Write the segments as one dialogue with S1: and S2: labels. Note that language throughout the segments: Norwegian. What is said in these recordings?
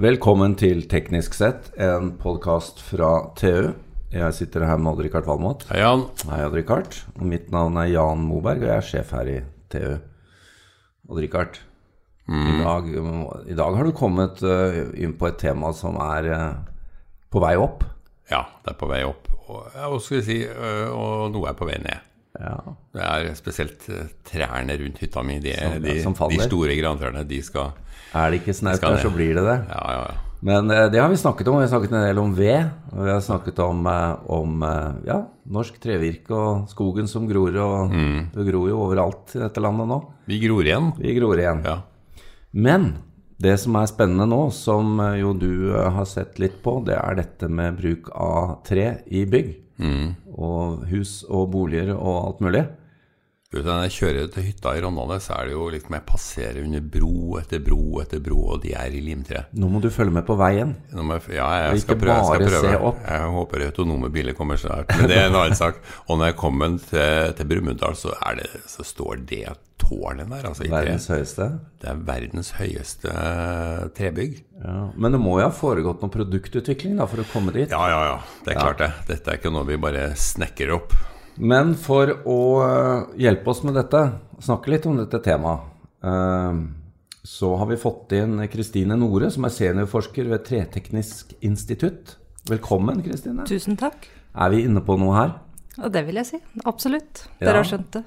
S1: Velkommen til Teknisk sett, en podkast fra TU. Jeg sitter her med Odd-Rikard Valmot.
S2: Hei, Jan.
S1: Hei, Odd-Rikard. Og mitt navn er Jan Moberg, og jeg er sjef her i TU. Odd-Rikard, i, dag, i dag har du kommet eh, inn på et tema som er eh, på vei opp.
S2: Ja, det er på vei opp. Og, ja, hva skal jeg si, øh, og noe er på vei ned.
S1: Ja.
S2: Det er spesielt øh, trærne rundt hytta mi. De,
S1: Som-
S2: de,
S1: som faller.
S2: de store grantrærne, de skal
S1: Er det ikke snaut
S2: Skal
S1: der,
S2: det.
S1: så blir det det.
S2: Ja, ja, ja.
S1: Men eh, det har vi snakket om. Vi har snakket en del om ved. Og vi har snakket om, eh, om eh, ja, norsk trevirke og skogen som gror. Og det gror jo overalt i dette landet nå.
S2: Vi gror igjen.
S1: Vi gror igjen.
S2: Ja.
S1: Men det som er spennende nå, som eh, jo du eh, har sett litt på, det er dette med bruk av tre i bygg.
S2: Mm.
S1: Og hus og boliger og alt mulig.
S2: Du vet, Når jeg kjører til hytta i Rondane, så er det jo liksom jeg passerer under bro etter bro etter bro, og de er i limtre.
S1: Nå må du følge med på veien.
S2: Nå må jeg- Ja, jeg
S1: Og
S2: skal
S1: ikke
S2: prøve. Jeg, skal
S1: bare se
S2: prøve.
S1: opp.
S2: jeg håper autonome biler kommer snart, men det er en annen sak. Og når jeg kommer til, til Brumunddal, så, er det- så står det tårnet der, altså i tre.
S1: Verdens høyeste.
S2: Det er verdens høyeste trebygg.
S1: Ja. Men det må jo ha foregått noe produktutvikling da, for å komme dit.
S2: Ja, ja, ja. Det er klart det. Dette er ikke noe vi bare snekker opp.
S1: Men for å eh, hjelpe oss med dette, snakke litt om dette temaet, eh, så har vi fått inn Kristine Nore, som er seniorforsker ved Treteknisk institutt. Velkommen, Kristine.
S3: Tusen takk.
S1: Er vi inne på noe her?
S3: Og det vil jeg si. Absolutt.
S1: Ja.
S3: Dere har skjønt det.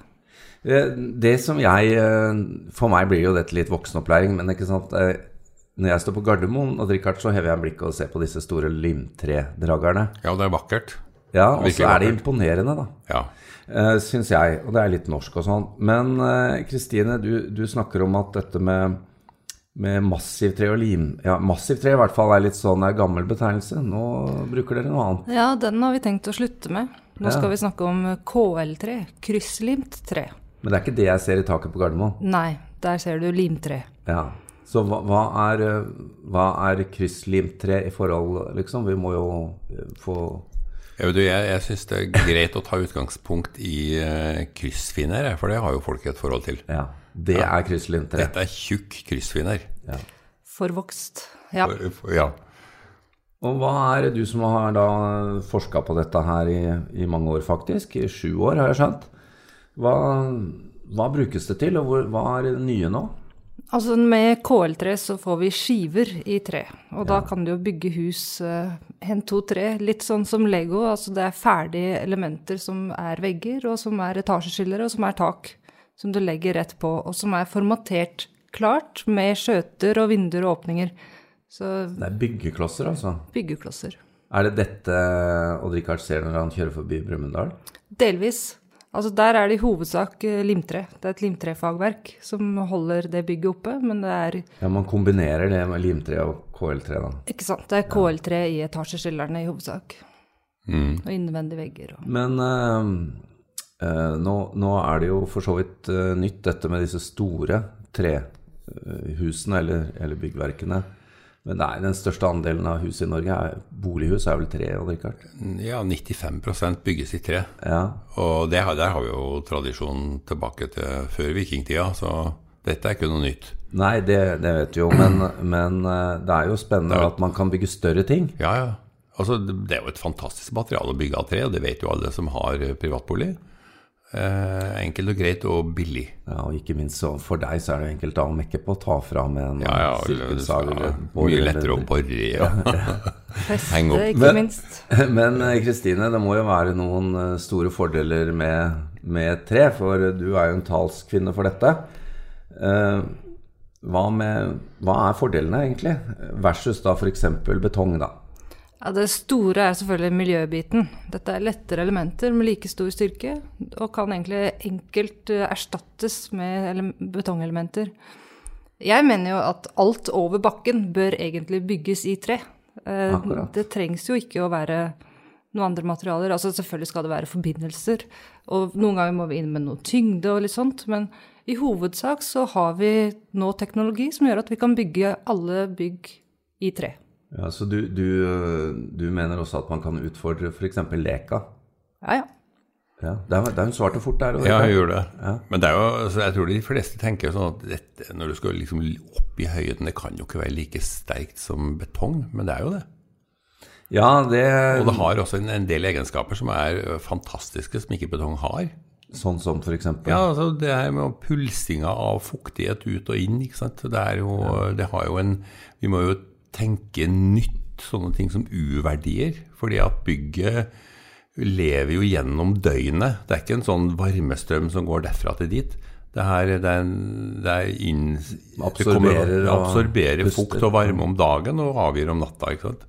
S1: Eh, Det som jeg eh, For meg blir jo dette litt voksenopplæring, men ikke sant eh, Når jeg står på Gardermoen og drikker, så hever jeg blikket og ser på disse store limtredragerne.
S2: Ja, det er vakkert.
S1: Ja, og så
S2: Virkelig
S1: er det
S2: vakkert.
S1: imponerende, da.
S2: Ja.
S1: Uh, Syns jeg, og det er litt norsk og sånn. Men Kristine, du, du snakker om at dette med, med massivtre og lim Ja, massivtre i hvert fall er litt sånn er gammel betegnelse. Nå bruker dere noe annet.
S3: Ja, den har vi tenkt å slutte med. Nå
S1: Ja.
S3: skal vi snakke om KL3, krysslimt tre.
S1: Men det er ikke det jeg ser i taket på Gardermoen.
S3: Nei, der ser du limtre.
S1: Ja. Så hva, hva er, eh, hva er krysslimtre i forhold, liksom? Vi må jo eh, få
S2: Jo, du, jeg jeg syns det er greit å ta utgangspunkt i eh, kryssfiner, jeg, for det har jo folk et forhold til.
S1: Ja. Det er krysslimtre.
S2: Dette er tjukk kryssfiner.
S1: Ja.
S3: Forvokst. Ja.
S2: For- for- Ja.
S1: Og hva er det du som har da forska på dette her i, i mange år, faktisk? I sju år, har jeg skjønt. Hva, hva brukes det til, og hvor, hva er det nye nå?
S3: Altså med KL3 så får vi skiver i tre. Og da kan du jo bygge hus eh, en, to, tre. Litt sånn som Lego. Altså det er ferdige elementer som er vegger, og som er etasjeskillere, og som er tak. Som du legger rett på, og som er formatert klart med skjøter og vinduer og åpninger. Så
S1: Det er byggeklosser, altså.
S3: byggeklosser.
S1: Er det dette Odd-Rikard ser når han kjører forbi Brumunddal?
S3: Delvis. Altså der er det i hovedsak eh, limtre. Det er et limtrefagverk som holder det bygget oppe, men det er
S1: Ja, man kombinerer det med limtre og KL3, da.
S3: Ikke sant. Det er KL3 i etasjeskillerne i hovedsak.
S2: Mm.
S3: Og innvendige vegger og
S1: Men eh, eh, nå, nå er det jo for så vidt eh, nytt dette med disse store trehusene eller, eller byggverkene. Men nei, den største andelen av hus i Norge, er, bolighus, er vel tre? Odd Rikard?
S2: ja, 95 bygges i tre.
S1: Ja.
S2: Og det, har- der har vi jo tradisjon tilbake til før vikingtida, så dette er ikke noe nytt.
S1: Nei, det, det vet vi jo, men, men eh, det er jo spennende at man kan bygge større ting.
S2: Ja, ja. Altså, det det er jo et fantastisk materiale å bygge av tre, og det vet jo alle som har eh, privatbolig. Eh, enkelt og greit og billig.
S1: Ja, og ikke minst så for deg så er det jo enkelt da å mekke på å ta fra med en
S2: Ja, ja, og-
S1: silkesag
S2: ja,
S1: eller
S2: mye
S1: borer
S2: lettere å
S1: eller-
S2: bore i. Ja.
S3: feste,
S2: Heng opp.
S3: ikke
S1: Men-
S3: minst.
S1: Men eh, Kristine, det må jo være noen eh, store fordeler med, med tre, for eh, du er jo en talskvinne for dette. Eh, Hva, med, hva er fordelene, egentlig? Versus da f.eks. betong, da.
S3: Ja, det store er selvfølgelig miljøbiten. Dette er lettere elementer med like stor styrke, og kan egentlig enkelt eh, erstattes med ele- betongelementer. Jeg mener jo at alt over bakken bør egentlig bygges i tre. Eh,
S1: Akkurat.
S3: Det trengs jo ikke å være noen andre materialer. Altså selvfølgelig skal det være forbindelser, og noen ganger må vi inn med noe tyngde og litt sånt, men i hovedsak så har vi nå teknologi som gjør at vi kan bygge alle bygg i tre.
S1: Ja, så du, du, eh, du mener også at man kan utfordre f.eks. leka?
S3: Ja, ja.
S1: Ja, det er, det er hun svarte fort der. og-
S2: Ja, jeg gjør det. Men det er jo, altså, jeg tror de fleste tenker sånn at dette, når du skal liksom opp opp i høyden. Det kan jo ikke være like sterkt som betong, men det er jo det.
S1: Ja, det
S2: Og det har også en, en del egenskaper som er ø, fantastiske, som ikke betong har.
S1: Sånn som for eksempel
S2: Ja, altså Det her med pulsinga av fuktighet ut og inn, ikke sant. Det, er jo, det har jo en Vi må jo tenke nytt, sånne ting som uverdier. Fordi at bygget lever jo gjennom døgnet. Det er ikke en sånn varmestrøm som går derfra til dit. Det, her, det, er, en- det er inn... det kommer-
S1: Absorberer
S2: det
S1: og
S2: absorberer
S1: puster.
S2: fukt og varme om dagen og avgir om natta, ikke sant.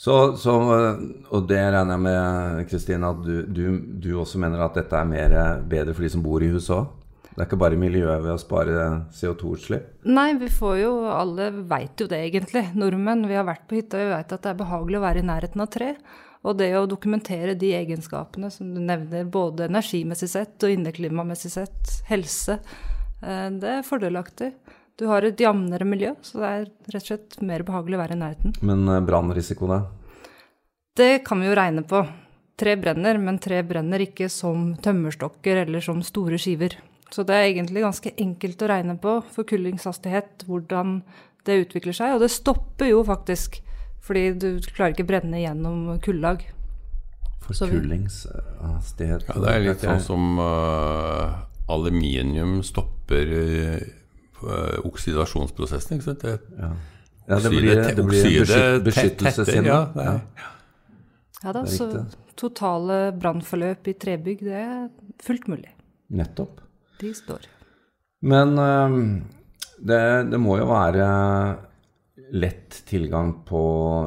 S1: Så, så, og det regner jeg med, Kristine, at du, du, du også mener at dette er mer, eh, bedre for de som bor i huset òg? Det er ikke bare miljøet ved å spare CO2-utslipp?
S3: Nei, vi får jo Alle veit jo det, egentlig. Nordmenn. Vi har vært på hytta, vi veit at det er behagelig å være i nærheten av tre. Og det å dokumentere de egenskapene som du nevner, både energimessig sett og inneklimamessig sett, helse, eh, det er fordelaktig. Du har et jevnere miljø, så det er rett og slett mer behagelig å være i nærheten.
S1: Men eh, brannrisiko, da?
S3: Det kan vi jo regne på. Tre brenner, men tre brenner ikke som tømmerstokker eller som store skiver. Så det er egentlig ganske enkelt å regne på forkullingshastighet, hvordan det utvikler seg. Og det stopper jo faktisk, fordi du klarer ikke brenne gjennom kullag. Så vi-
S1: eh, Forkullingshastighet
S2: Ja, det er litt sånn som øh, aluminium stopper øh, oksidasjonsprosessen, ikke sant? Det,
S1: Ja, det blir,
S2: okside-
S1: det blir en
S2: okside
S1: beskytt,
S2: tett- tetter,
S1: beskyttelseshinder.
S2: Ja, det er-
S3: Ja
S1: Det
S3: da,
S1: er
S3: så
S1: riktig.
S3: totale brannforløp i trebygg, det er fullt mulig.
S1: Nettopp.
S3: De står.
S1: Men øhm, det, det må jo være lett tilgang på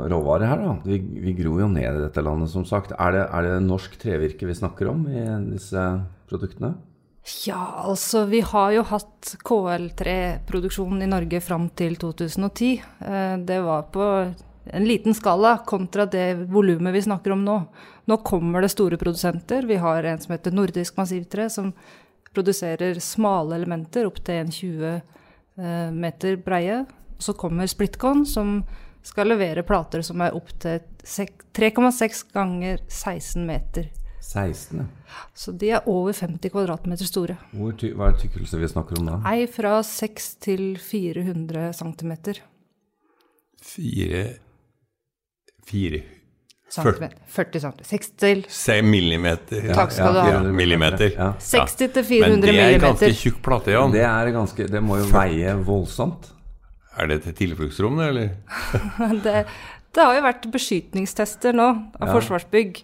S1: råvarer her, da. Vi, vi gror jo ned i dette landet, som sagt. Er det, er det norsk trevirke vi snakker om i disse produktene?
S3: Ja, altså vi har jo hatt KL3-produksjon i Norge fram til 2010. Eh, Det var på en liten skala kontra det volumet vi snakker om nå. Nå kommer det store produsenter. Vi har en som heter Nordisk Massivtre, som produserer smale elementer opp til en 20 eh, meter breie. Så kommer Splitcon, som skal levere plater som er opp til sek- 3,6 ganger 16 meter.
S1: 16, ja.
S3: Så de er over 50 kvadratmeter store.
S1: Hvor ty hva er tykkelse vi snakker om da?
S3: Nei, fra 6 til 400 cm.
S2: fire Fire
S3: Centimeter. 40 cm. 6 til
S2: Se, millimeter.
S3: Takk skal
S1: ja,
S3: du ha.
S2: Ja, millimeter.
S1: Ja.
S3: 60 til
S2: Men
S3: 400
S2: det er ganske
S3: millimeter.
S2: tjukk plate, Jan.
S1: Det er ganske Det må jo veie voldsomt.
S2: Er det til tilfluktsrom, det, eller?
S3: Det, det har jo vært beskytningstester nå av Forsvarsbygg.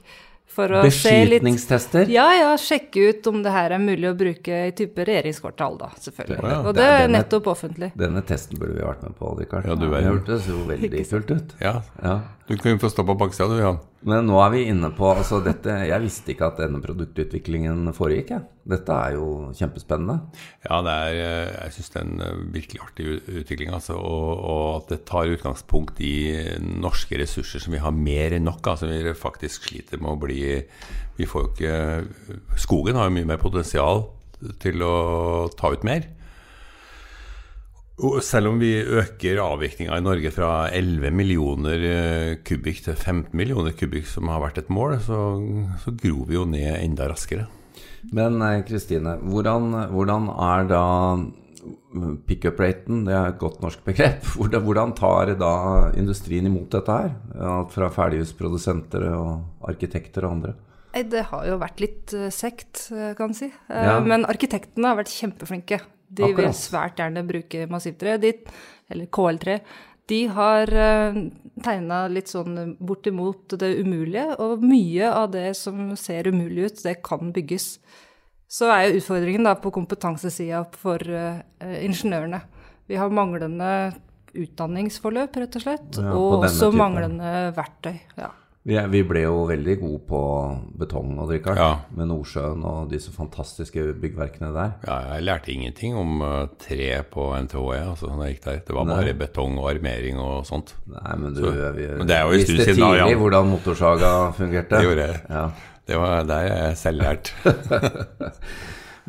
S3: For å se litt
S1: Beskytningstester?
S3: Ja, ja, sjekke ut om det her er mulig å bruke i type regjeringskvartal, da, selvfølgelig.
S2: Ja,
S3: Og
S1: det
S3: det
S1: er
S3: er
S1: den er-
S3: nettopp offentlig.
S1: Denne testen burde vi vært med på, Richard.
S2: Ja, du
S1: det
S2: verden.
S1: hørtes jo veldig kult ut.
S2: Ja.
S1: Ja.
S2: Du kan jo få stå på baksida, du, Jan.
S1: Men nå er vi inne på altså dette, Jeg visste ikke at denne produktutviklingen foregikk. Jeg. Dette er jo kjempespennende.
S2: Ja, det er, eh, jeg syns det er en eh, virkelig artig ut- utvikling. Altså, og, og at det tar utgangspunkt i norske ressurser som vi har mer enn nok. Altså, vi faktisk sliter med å bli vi får jo ikke, Skogen har jo mye mer potensial til å ta ut mer. Og selv om vi øker avvirkninga i Norge fra 11 millioner eh, kubikk til 15 millioner kubikk, som har vært et mål, så, så gror vi jo ned enda raskere.
S1: Men eh, Kristine, hvordan, hvordan er da pickup-raten? Det er et godt norsk begrep. Hvordan, hvordan tar da industrien imot dette her? Alt fra ferdighusprodusenter og arkitekter og andre.
S3: Nei, det har jo vært litt eh, sekt, eh, kan en si. Eh,
S1: Ja.
S3: Men arkitektene har vært kjempeflinke. De vil
S1: Akkurat.
S3: svært gjerne bruke massivtre, de, eller KL3. De har uh, tegna litt sånn bortimot det umulige, og mye av det som ser umulig ut, det kan bygges. Så er jo utfordringen da på kompetansesida for eh, eh, ingeniørene. Vi har manglende utdanningsforløp, rett og slett,
S1: Ja, på
S3: og
S1: denne
S3: også
S1: typen.
S3: manglende verktøy. ja.
S1: Vi, er, vi ble jo veldig gode på betong og drikkart,
S2: Ja.
S1: med Nordsjøen og disse fantastiske byggverkene der.
S2: Ja, jeg lærte ingenting om eh, tre på NTHE. Altså, når jeg gikk der. Det var bare betong og armering og sånt.
S1: Nei, men du, vi
S2: men det er jo en
S1: visste
S2: stund siden da,
S1: tidlig
S2: Jan.
S1: hvordan motorsaga fungerte.
S2: Det gjorde jeg.
S1: Ja.
S2: Det var der er jeg selv lært.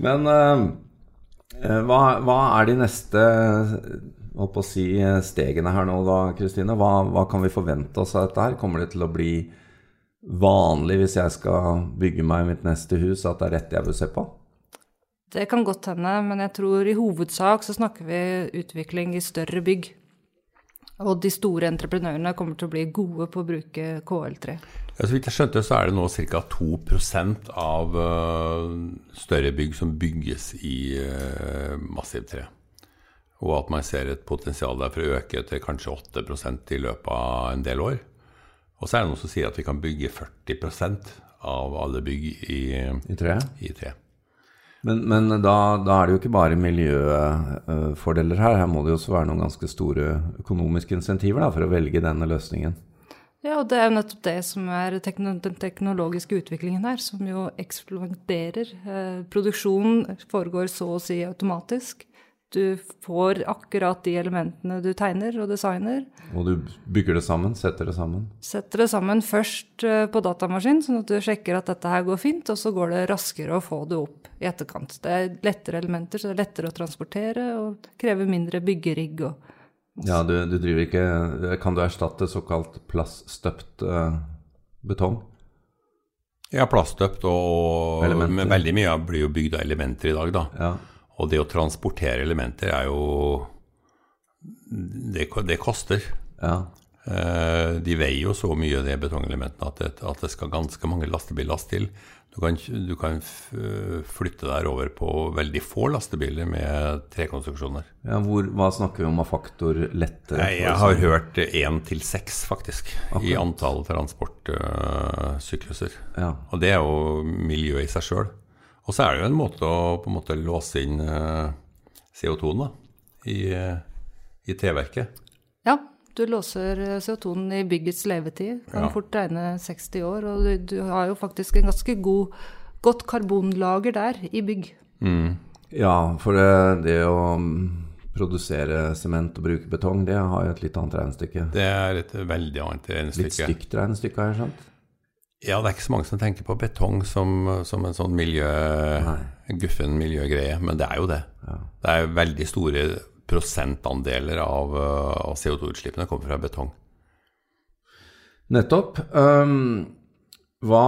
S1: Men eh, eh, hva, hva er de neste hva på å si, eh, stegene her nå da, Kristine? Hva, hva kan vi forvente oss av dette her? Kommer det til å bli vanlig hvis jeg skal bygge meg mitt neste hus, at det er dette jeg bør se på?
S3: Det kan godt hende, men jeg tror i hovedsak så snakker vi utvikling i større bygg. Og de store entreprenørene kommer til å bli gode på å bruke KL3.
S2: Ja, så vidt jeg skjønte, så er det nå ca. 2 av øh, større bygg som bygges i øh, massivt tre. Og at man ser et potensial der for å øke til kanskje 8 i løpet av en del år. Og så er det noen som sier at vi kan bygge 40 av alle bygg i,
S1: I tre?
S2: i tre.
S1: Men, men da, da er det jo ikke bare miljøfordeler her. Her må det jo også være noen ganske store økonomiske insentiver da, for å velge denne løsningen.
S3: Ja, og det er jo nettopp det som er tekno den teknologiske utviklingen her, som jo eksploderer. Eh, produksjonen foregår så å si automatisk. Du får akkurat de elementene du tegner og designer.
S1: Og du bygger det sammen, setter det sammen.
S3: Setter det sammen først eh, på datamaskin, sånn at du sjekker at dette her går fint, og så går det raskere å få det opp i etterkant. Det er lettere elementer, så det er lettere å transportere og krever mindre byggerigg og
S1: Ja, du, du driver ikke Kan du erstatte såkalt plaststøpt eh, betong?
S2: Ja, plaststøpt og
S1: Elementer.
S2: men veldig mye av blir jo bygd av elementer i dag, da.
S1: Ja.
S2: Og det å transportere elementer er jo Det, ko- det koster.
S1: ja.
S2: Eh, de veier jo så mye, de betongelementene, at det, at det skal ganske mange lastebillass til. Du kan, ikke- du kan f- flytte der over på veldig få lastebiler med trekonstruksjoner.
S1: ja hvor, hva snakker vi om av faktor lettere?
S2: Nei, jeg har hørt én til seks, faktisk, i antall transportsykluser.
S1: Ja.
S2: Og det er jo miljø i seg sjøl. Og så er det jo en måte å på en måte låse inn eh, CO2-en da, i, eh, i treverket.
S3: Ja, du låser eh, CO2-en i byggets levetid.
S2: Ja.
S3: Kan fort regne 60 år. Og du, du har jo faktisk en ganske god, godt karbonlager der i bygg.
S1: ja, for det, det å mm, produsere sement og bruke betong, det har jo et litt annet regnestykke.
S2: Det er et veldig annet
S1: Litt
S2: regnestykke.
S1: stygt regnestykke, har jeg skjønt.
S2: Ja, det er ikke så mange som tenker på betong som, som en sånn miljø, guffen miljøgreie, men det er jo det. Det er veldig store prosentandeler av, eh, av CO2-utslippene kommer fra betong.
S1: Nettopp. Ehm, hva,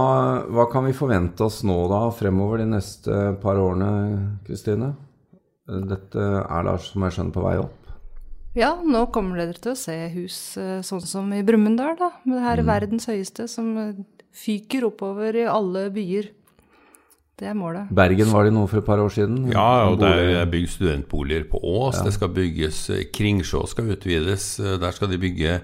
S1: hva kan vi forvente oss nå da fremover de neste par årene, Kristine? Dette er da, som jeg skjønner, på vei opp.
S3: Ja, nå kommer dere til å se hus eh, sånn som i Brumunddal, da. Med det her verdens høyeste som eh, fyker oppover i alle byer. Det er målet.
S1: Bergen var det noe for et par år siden.
S2: Ja, og det
S1: Bolig-
S2: er bygd studentboliger på Ås. Det skal bygges eh, Kringsjå skal utvides. eh, Der skal de bygge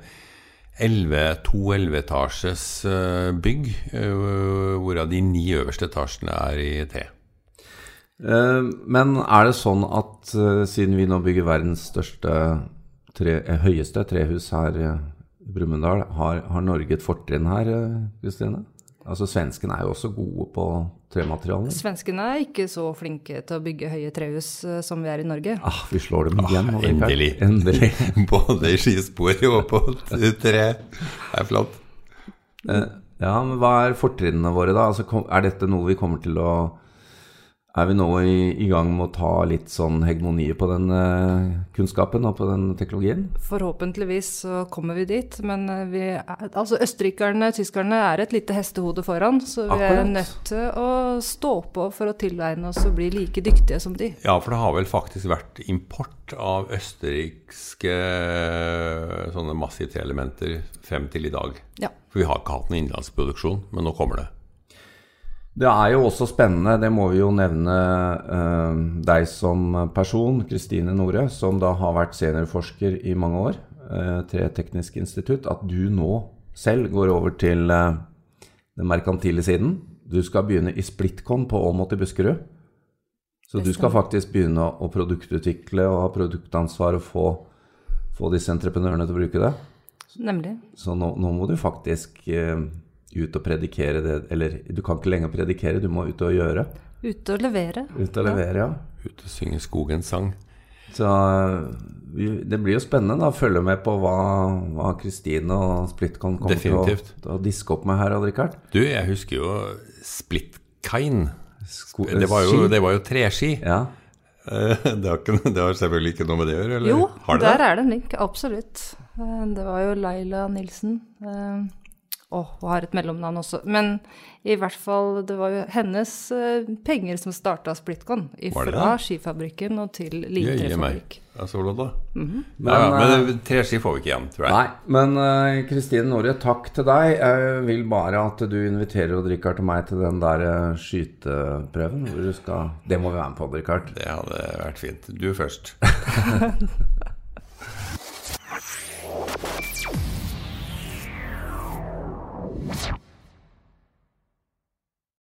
S2: 11, to 11-etasjes eh, bygg, eh, hvorav de ni øverste etasjene er i tre.
S1: Eh, Men er det sånn at eh, siden vi nå bygger verdens største tre, eh, høyeste trehus her eh, i Brumunddal, har, har Norge et fortrinn her, eh, Kristine? Altså svenskene er jo også gode på trematerialer.
S3: Svenskene er ikke så flinke til å bygge høye trehus eh, som vi er i Norge.
S1: Ah, vi slår dem igjen. Richard.
S2: endelig.
S1: endelig.
S2: Både i skisporet og på t- tre. Det er flott.
S1: Ja, men hva er fortrinnene våre da? Altså, kom- er dette noe vi kommer til å Er vi nå i, i gang med å ta litt sånn hegemoniet på den eh, kunnskapen og på den teknologien?
S3: Forhåpentligvis så kommer vi dit, men eh, vi er, altså østerrikerne, tyskerne er et lite hestehode foran, så vi er
S1: Akkurat.
S3: nødt til å stå på for å tilegne oss og bli like dyktige som de.
S2: Ja, for det har vel faktisk vært import av østerrikske eh, sånne massivtreelementer frem til i dag.
S3: Ja.
S2: For vi har ikke hatt noen innenlandsproduksjon, men nå kommer det.
S1: Det er jo også spennende, det må vi jo nevne eh, deg som person, Kristine Nore, som da har vært seniorforsker i mange år, eh, Tre teknisk institutt, at du nå selv går over til eh, den merkantile siden. Du skal begynne i Splitcon på Åmot i Buskerud. Så du skal faktisk begynne å å produktutvikle og ha produktansvar og få, få disse entreprenørene til å bruke det.
S3: Nemlig.
S1: Så nå, nå må du faktisk eh, ut og predikere det, eller du kan ikke lenger predikere, du må ut og gjøre.
S3: Ute og levere.
S1: Ut og levere, ja.
S2: Ut og synge skogens sang.
S1: Så eh, vi, det blir jo spennende da, å følge med på hva, hva Kristine og Splitcon kommer til å,
S2: Definitivt.
S1: til å diske opp med her, Odd Rikard.
S2: Du, jeg husker jo Splitkind.
S1: Sko-
S2: Det var jo,
S1: ski.
S2: det var jo treski.
S1: Ja.
S2: Eh, Det, har ikke, det har selvfølgelig ikke noe med det å gjøre? eller?
S3: Jo,
S2: har det
S3: der
S2: det?
S3: er det en link, absolutt. Eh, Det var jo Laila Nilsen, eh, Åh, hun har et mellomnavn også. Men i hvert fall, det var jo hennes eh, penger som starta Splitcon.
S2: Var det
S3: Fra
S2: det?
S3: skifabrikken og til
S2: Jøye meg.
S3: limtrefabrikk.
S2: Ja, så bra, da.
S1: Men,
S2: ja, ja,
S1: eh,
S2: men eh, treski får vi ikke igjen, tror jeg.
S1: Nei, men eh, Kristine Nore, takk til deg. Jeg vil bare at du inviterer Odd Rikard og meg til den der eh, skyteprøven. Hvor du skal Det må vi være med på, Odd Rikard.
S2: Det hadde vært fint. Du først.